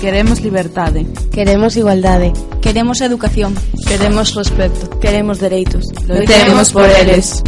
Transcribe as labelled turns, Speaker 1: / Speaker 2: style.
Speaker 1: Queremos libertade.
Speaker 2: Queremos igualdade.
Speaker 3: Queremos educación.
Speaker 4: Queremos respeto.
Speaker 5: Queremos dereitos.
Speaker 6: Loitemos por eles.